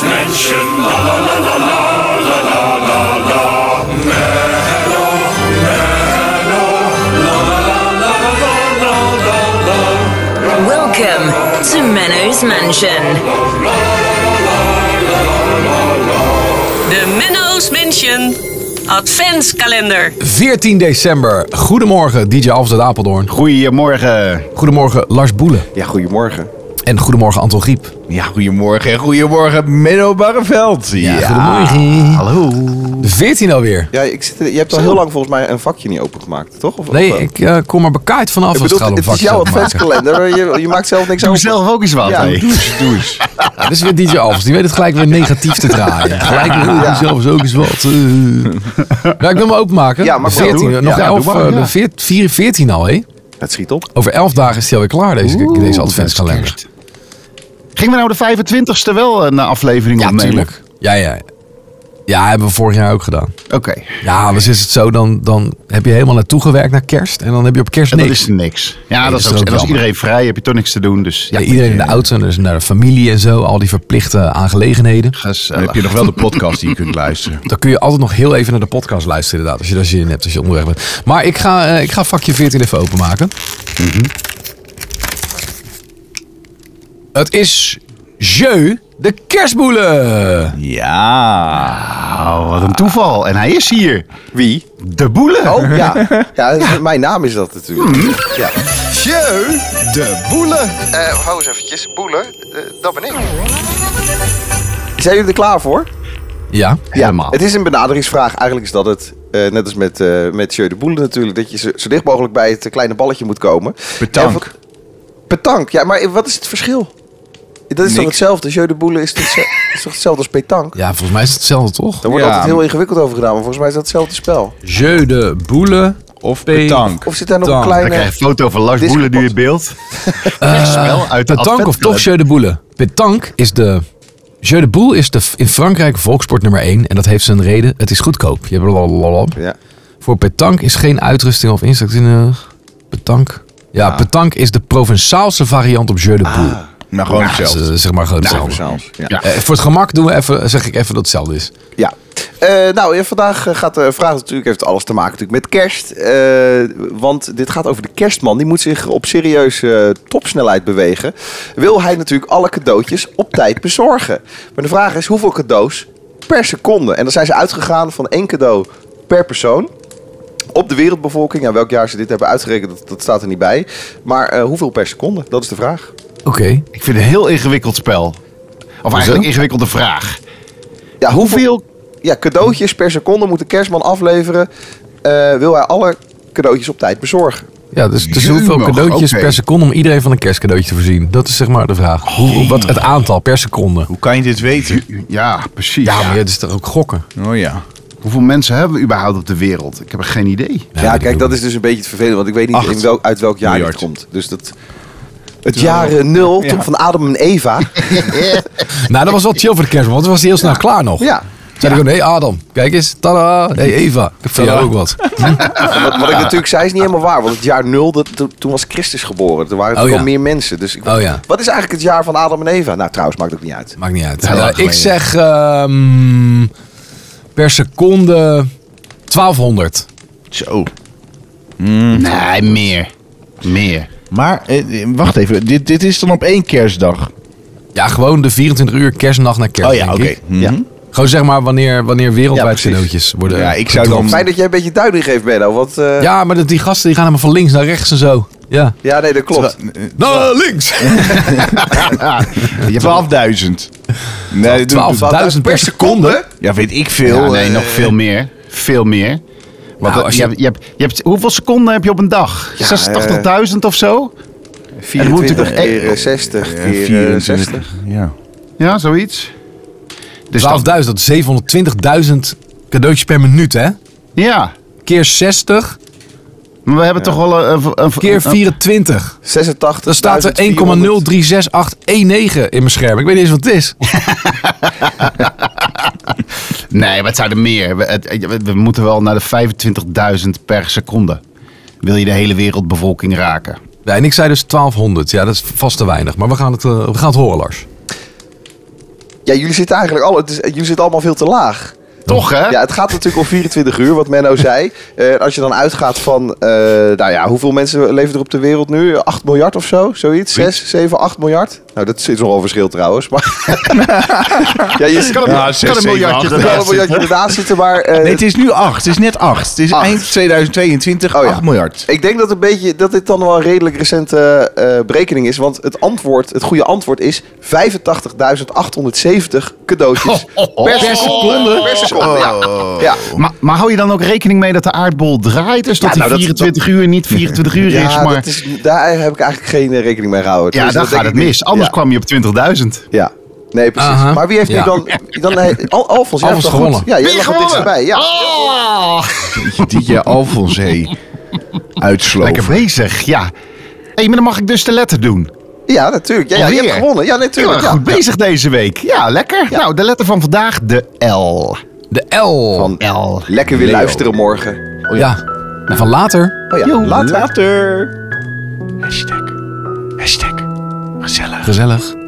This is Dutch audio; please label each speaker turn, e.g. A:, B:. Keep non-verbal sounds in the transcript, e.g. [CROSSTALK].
A: Revolution. La la la la la la la la la. Mello, mello, la la la la la la la la.
B: Welcome to Menno's Mansion.
C: De Menno's Mansion Adventskalender.
D: 14 december. Goedemorgen, DJ Alves uit Apeldoorn.
E: Goedemorgen.
D: Goedemorgen, Lars Boelen.
E: Ja, goedemorgen.
D: En goedemorgen, Anton Griep.
E: Ja, goedemorgen. En goedemorgen, Menno Barreveld. Ja,
D: goedemorgen.
E: Hallo.
D: De 14 alweer.
F: Ja, ik zit, je hebt al heel lang volgens mij een vakje niet opengemaakt, toch? Of,
D: Nee,
F: of wel?
D: ik eh, kom er bekaaid vanaf
F: Ik
D: als het
F: bedoel,
D: gaat om
F: het is
D: vakjes
F: jouw
D: opmaken.
F: adventskalender. Je, je maakt zelf niks
E: Doe
F: open.
E: zelf ook eens wat.
F: Ja,
E: hè.
F: doe
D: Ja, Dit is weer DJ Alves. Die weet het gelijk weer negatief te draaien. Gelijk weer, oh, zelf is ook eens wat. eh. Nou, ik wil me openmaken.
F: Ja, maar
D: De
F: goed,
D: 14,
E: doe.
D: nog
E: Ja,
D: elf,
E: doe maar,
D: eh,
E: ja.
D: de veert- vier- 14 al, hé.
F: Het schiet op.
D: Over 11 dagen is hij alweer klaar, deze, deze
E: Oeh,
D: adventskalender.
E: dat is kerst. Gingen we nou de 25ste wel een eh, aflevering
D: Ja,
E: opnemen?
D: natuurlijk. Ja, ja. Ja, hebben we vorig jaar ook gedaan.
E: Oké.
D: Ja, anders is het zo, dan, dan heb je helemaal naartoe gewerkt naar kerst. En dan heb je op kerst
E: En
D: niks.
E: dat is niks. Ja, dat
D: dat
E: is
D: is
E: ook,
D: ook
E: en als
D: jammer.
E: iedereen vrij, heb je toch niks te doen. Dus ja,
D: Ja, iedereen in de auto, dus naar de familie en zo. Al die verplichte aangelegenheden.
E: Gezellig.
G: Dan heb je nog wel de podcast die je kunt luisteren.
D: Dan kun je altijd nog heel even naar de podcast luisteren inderdaad. Als je daar zin in hebt, als je onderweg bent. Maar ik ga, eh, ik ga vakje 14 even openmaken.
F: Mhm.
D: Het is Jeu de kerstboelen.
E: Ja, oh, wat een toeval. En hij is hier.
F: Wie?
E: De boelen. [LAUGHS]
F: Oh, ja. ja dus mijn naam is dat natuurlijk. Ja.
E: Jeu, de boelen.
F: Eh, hou eens eventjes. Boelen, eh, dat ben ik. Zijn jullie er klaar voor?
D: Ja.
E: Helemaal.
F: Het is een benaderingsvraag. Eigenlijk is dat het, eh, net als met, eh met Jeu de Boelen natuurlijk, dat je zo, zo dicht mogelijk bij het eh, kleine balletje moet komen.
G: Petank.
F: En wat- Petank, ja, maar wat is het verschil? Dat is toch
G: Niks.
F: hetzelfde? Jeu de Boelen is, toch hetze- is toch hetzelfde als petank?
D: Ja, volgens mij is het hetzelfde toch?
F: Daar wordt
G: Ja.
F: altijd heel ingewikkeld over gedaan, maar volgens mij is dat hetzelfde spel.
D: Jeu de boelen.
G: Of petank.
F: Of zit daar nog
D: Dan.
F: een
E: Dan krijg je
F: kleine...
E: een foto van Lars
F: Dit is
E: Boelen nu
F: kapot.
E: in beeld. Spel uit de
D: Petank of toch
E: adventkalender.
D: Jeu de Boule? Petank is de... Jeu de Boule is de, in Frankrijk volkssport nummer 1. En dat heeft zijn reden. Het is goedkoop. Je blablabla.
F: Ja.
D: Voor petank is geen uitrusting of instructie nodig. Petank. Ja, petank is de Provençaalse variant op Jeu de Boule.
G: Nou, gewoon
D: Dat is,
G: hetzelfde.
D: eh, zeg maar gewoon hetzelfde.
F: Provençaals, Ja.
D: Eh, voor het gemak doen we even, zeg ik even dat hetzelfde is.
F: Ja. Eh, nou, ja, vandaag eh, gaat de vraag natuurlijk heeft alles te maken natuurlijk met kerst. Eh, want dit gaat over de kerstman. Die moet zich op serieuze eh, topsnelheid bewegen. Wil hij natuurlijk alle cadeautjes op tijd bezorgen. Maar de vraag is hoeveel cadeaus per seconde? En dan zijn ze uitgegaan van één cadeau per persoon. Op de wereldbevolking, ja, welk jaar ze dit hebben uitgerekend, dat, dat staat er niet bij. Maar eh, hoeveel per seconde? Dat is de vraag.
D: Oké.
E: Ik vind het een heel ingewikkeld spel. Of eigenlijk een ingewikkelde vraag.
F: Ja,
E: Hoeveel?
F: ja, cadeautjes per seconde moet de kerstman afleveren. eh, wil hij alle cadeautjes op tijd bezorgen?
D: Ja, dus, dus hoeveel
G: Jemig,
D: cadeautjes
G: oké.
D: per seconde om iedereen van een kerstcadeautje te voorzien? Dat is zeg maar de vraag. Hoe, hoe- wat het aantal per seconde.
G: Hoe kan je dit weten?
E: Ja, precies.
D: Ja, maar dat is toch ook gokken?
G: Oh ja.
E: Hoeveel mensen hebben we überhaupt op de wereld? Ik heb er geen idee.
F: Ja, kijk, dat is dus een beetje het vervelende, want ik weet niet
G: Acht
F: in welk, uit welk jaar dit
G: miljard.
F: komt. Dus dat. Het jaar eh, nul
G: Ja.
F: toen van Adam en Eva.
D: Nou, dat was wel chill voor de kerstman, want toen was hij heel snel klaar nog.
F: ja.
D: Zei ik gewoon, hé Adam, kijk eens, tada, hé hey Eva, ik vind jou ook wat.
G: [LAUGHS]
F: Wat, wat ik natuurlijk zei is niet helemaal waar. Want het jaar nul, dat, to- toen was Christus geboren. Er waren
D: Oh,
F: toch wel
D: ja.
F: meer mensen. Dus ik,
D: Oh, ja.
F: wat is eigenlijk het jaar van Adam en Eva? Nou, trouwens, maakt ook niet uit.
D: Maakt niet uit.
E: Heel lang
D: Eh, ik
E: geleden.
D: zeg ehm, per seconde 1200.
E: Zo. Hmm. Nee, meer. Meer.
G: Hmm. Maar, eh, eh, wacht even. Dit, dit is dan op één kerstdag.
D: Ja, gewoon de 24 uur kerstnacht naar kerst,
G: Oh ja,
D: denk
G: oké.
D: ik.
G: Mhm.
F: Ja.
D: Gewoon zeg maar wanneer, wanneer
F: Ja,
D: wereldwijd
F: precies.
D: cadeautjes worden
G: Ja, ik zou dan-
D: getroffen.
F: Fijn dat jij een beetje duiding geeft, Benno. Want, eh, ja.
D: Ja, maar dat- die gasten die gaan helemaal van links naar rechts en zo. Ja.
F: nee, dat klopt.
D: Naar
F: [LAUGHS]
D: links!
F: Dus
G: [LAUGHS] Je hebt 12.000. Nee, doe-
D: 12.000 per seconde?
G: Ja, weet ik veel.
E: Ja, nee,
G: eh,
E: nog veel meer. Veel meer. Want
D: Nou,
E: dat-
D: als
E: je,
D: je-
E: hebt, je, hebt, je hebt- hoeveel seconden heb je op een dag?
G: eh.
E: 86.000 of zo? En moet er nog
F: 24 keer eh, 60
G: eh,
F: keer eh, 60.
G: 24. Ja.
E: Ja, zoiets. Dus dan-
D: 12.000, dat is 720.000 cadeautjes per minuut, hè?
E: ja,
D: Keer 60,
E: maar we hebben toch wel eh, een... een- een-
D: keer
E: een-
F: Oh,
D: 24.
F: 86.
D: Dan staat er 1,036819 in mijn scherm. Ik weet niet eens wat het
F: [LAUGHS]
D: is.
E: Nee, wat zijn er meer? We, het- eh, we- we moeten wel naar de 25.000 per seconde. Wil je de hele wereldbevolking raken?
D: Ja, en ik zei dus 1200. Ja, dat is vast te weinig. Maar we gaan het, eh, we gaan het horen, Lars.
F: Ja, jullie zitten eigenlijk al, het is, jullie zitten allemaal veel te laag.
E: Toch, hè?
F: Ja, het gaat natuurlijk om 24 uur, wat Menno
E: [LAUGHS]
F: zei. Eh, als je dan uitgaat van, eh, nou ja, hoeveel mensen leven er op de wereld nu? 8 miljard of zo, zoiets? 6, 7, 8 miljard? Nou, dat is nogal een verschil trouwens.
E: [LAUGHS]
F: Maar ja, je
E: Kan
F: kan
E: een,
G: Ja,
E: kan
G: zes,
E: een
G: zeven,
E: miljardje
G: acht,
F: er wel
E: ernaast
F: een miljardje
G: [LAUGHS]
F: ernaast zitten, maar... eh,
G: Nee, het is nu 8. Het is net 8. Het is
F: Acht.
G: eind 2022
F: Oh ja.
G: 8 miljard.
F: Ik denk dat, een beetje, dat dit dan wel een redelijk recente eh, berekening is. Want het, antwoord, het goede antwoord is 85.870 cadeautjes
E: [LAUGHS] Oh.
F: per seconde. Per seconde, ja. ja.
E: Maar, maar hou je dan ook rekening mee dat de aardbol draait? Dus dat die
F: Ja, nou, dat-
E: 24 uur niet 24 uur
F: Ja,
E: is, maar...
F: dat is, daar heb ik eigenlijk geen eh, rekening mee gehouden.
E: ja,
F: Dus
E: dan
F: dat denk
E: gaat het
F: ik niet.
E: mis. Anders
F: Ja.
E: kwam je op 20.000.
F: Ja. Nee, precies.
D: Aha.
F: Maar wie heeft
D: Ja.
F: nu dan... dan he- Al, Alfons, jij
D: Alfons
F: hebt toch
D: gewonnen.
F: Goed. Ja, jij
E: Wie
F: lag het
E: gewonnen?
F: dichtst bij. Ja.
G: DJ
E: Oh,
G: Alphonse
E: lekker
G: uitsloven.
E: bezig, ja. Hé, maar dan mag ik dus de letter doen.
F: ja, natuurlijk. Ja, ja, je
E: Alweer.
F: hebt gewonnen. Ja,
E: Heel
F: natuurlijk.
E: erg
F: Ja.
E: goed bezig deze week. Ja, lekker. Nou, de letter van vandaag, de L.
D: De L.
F: Van-
E: L.
F: Lekker weer
E: Leo.
F: luisteren morgen.
D: ja. En van later.
F: Oh ja, later.
D: Gezellig.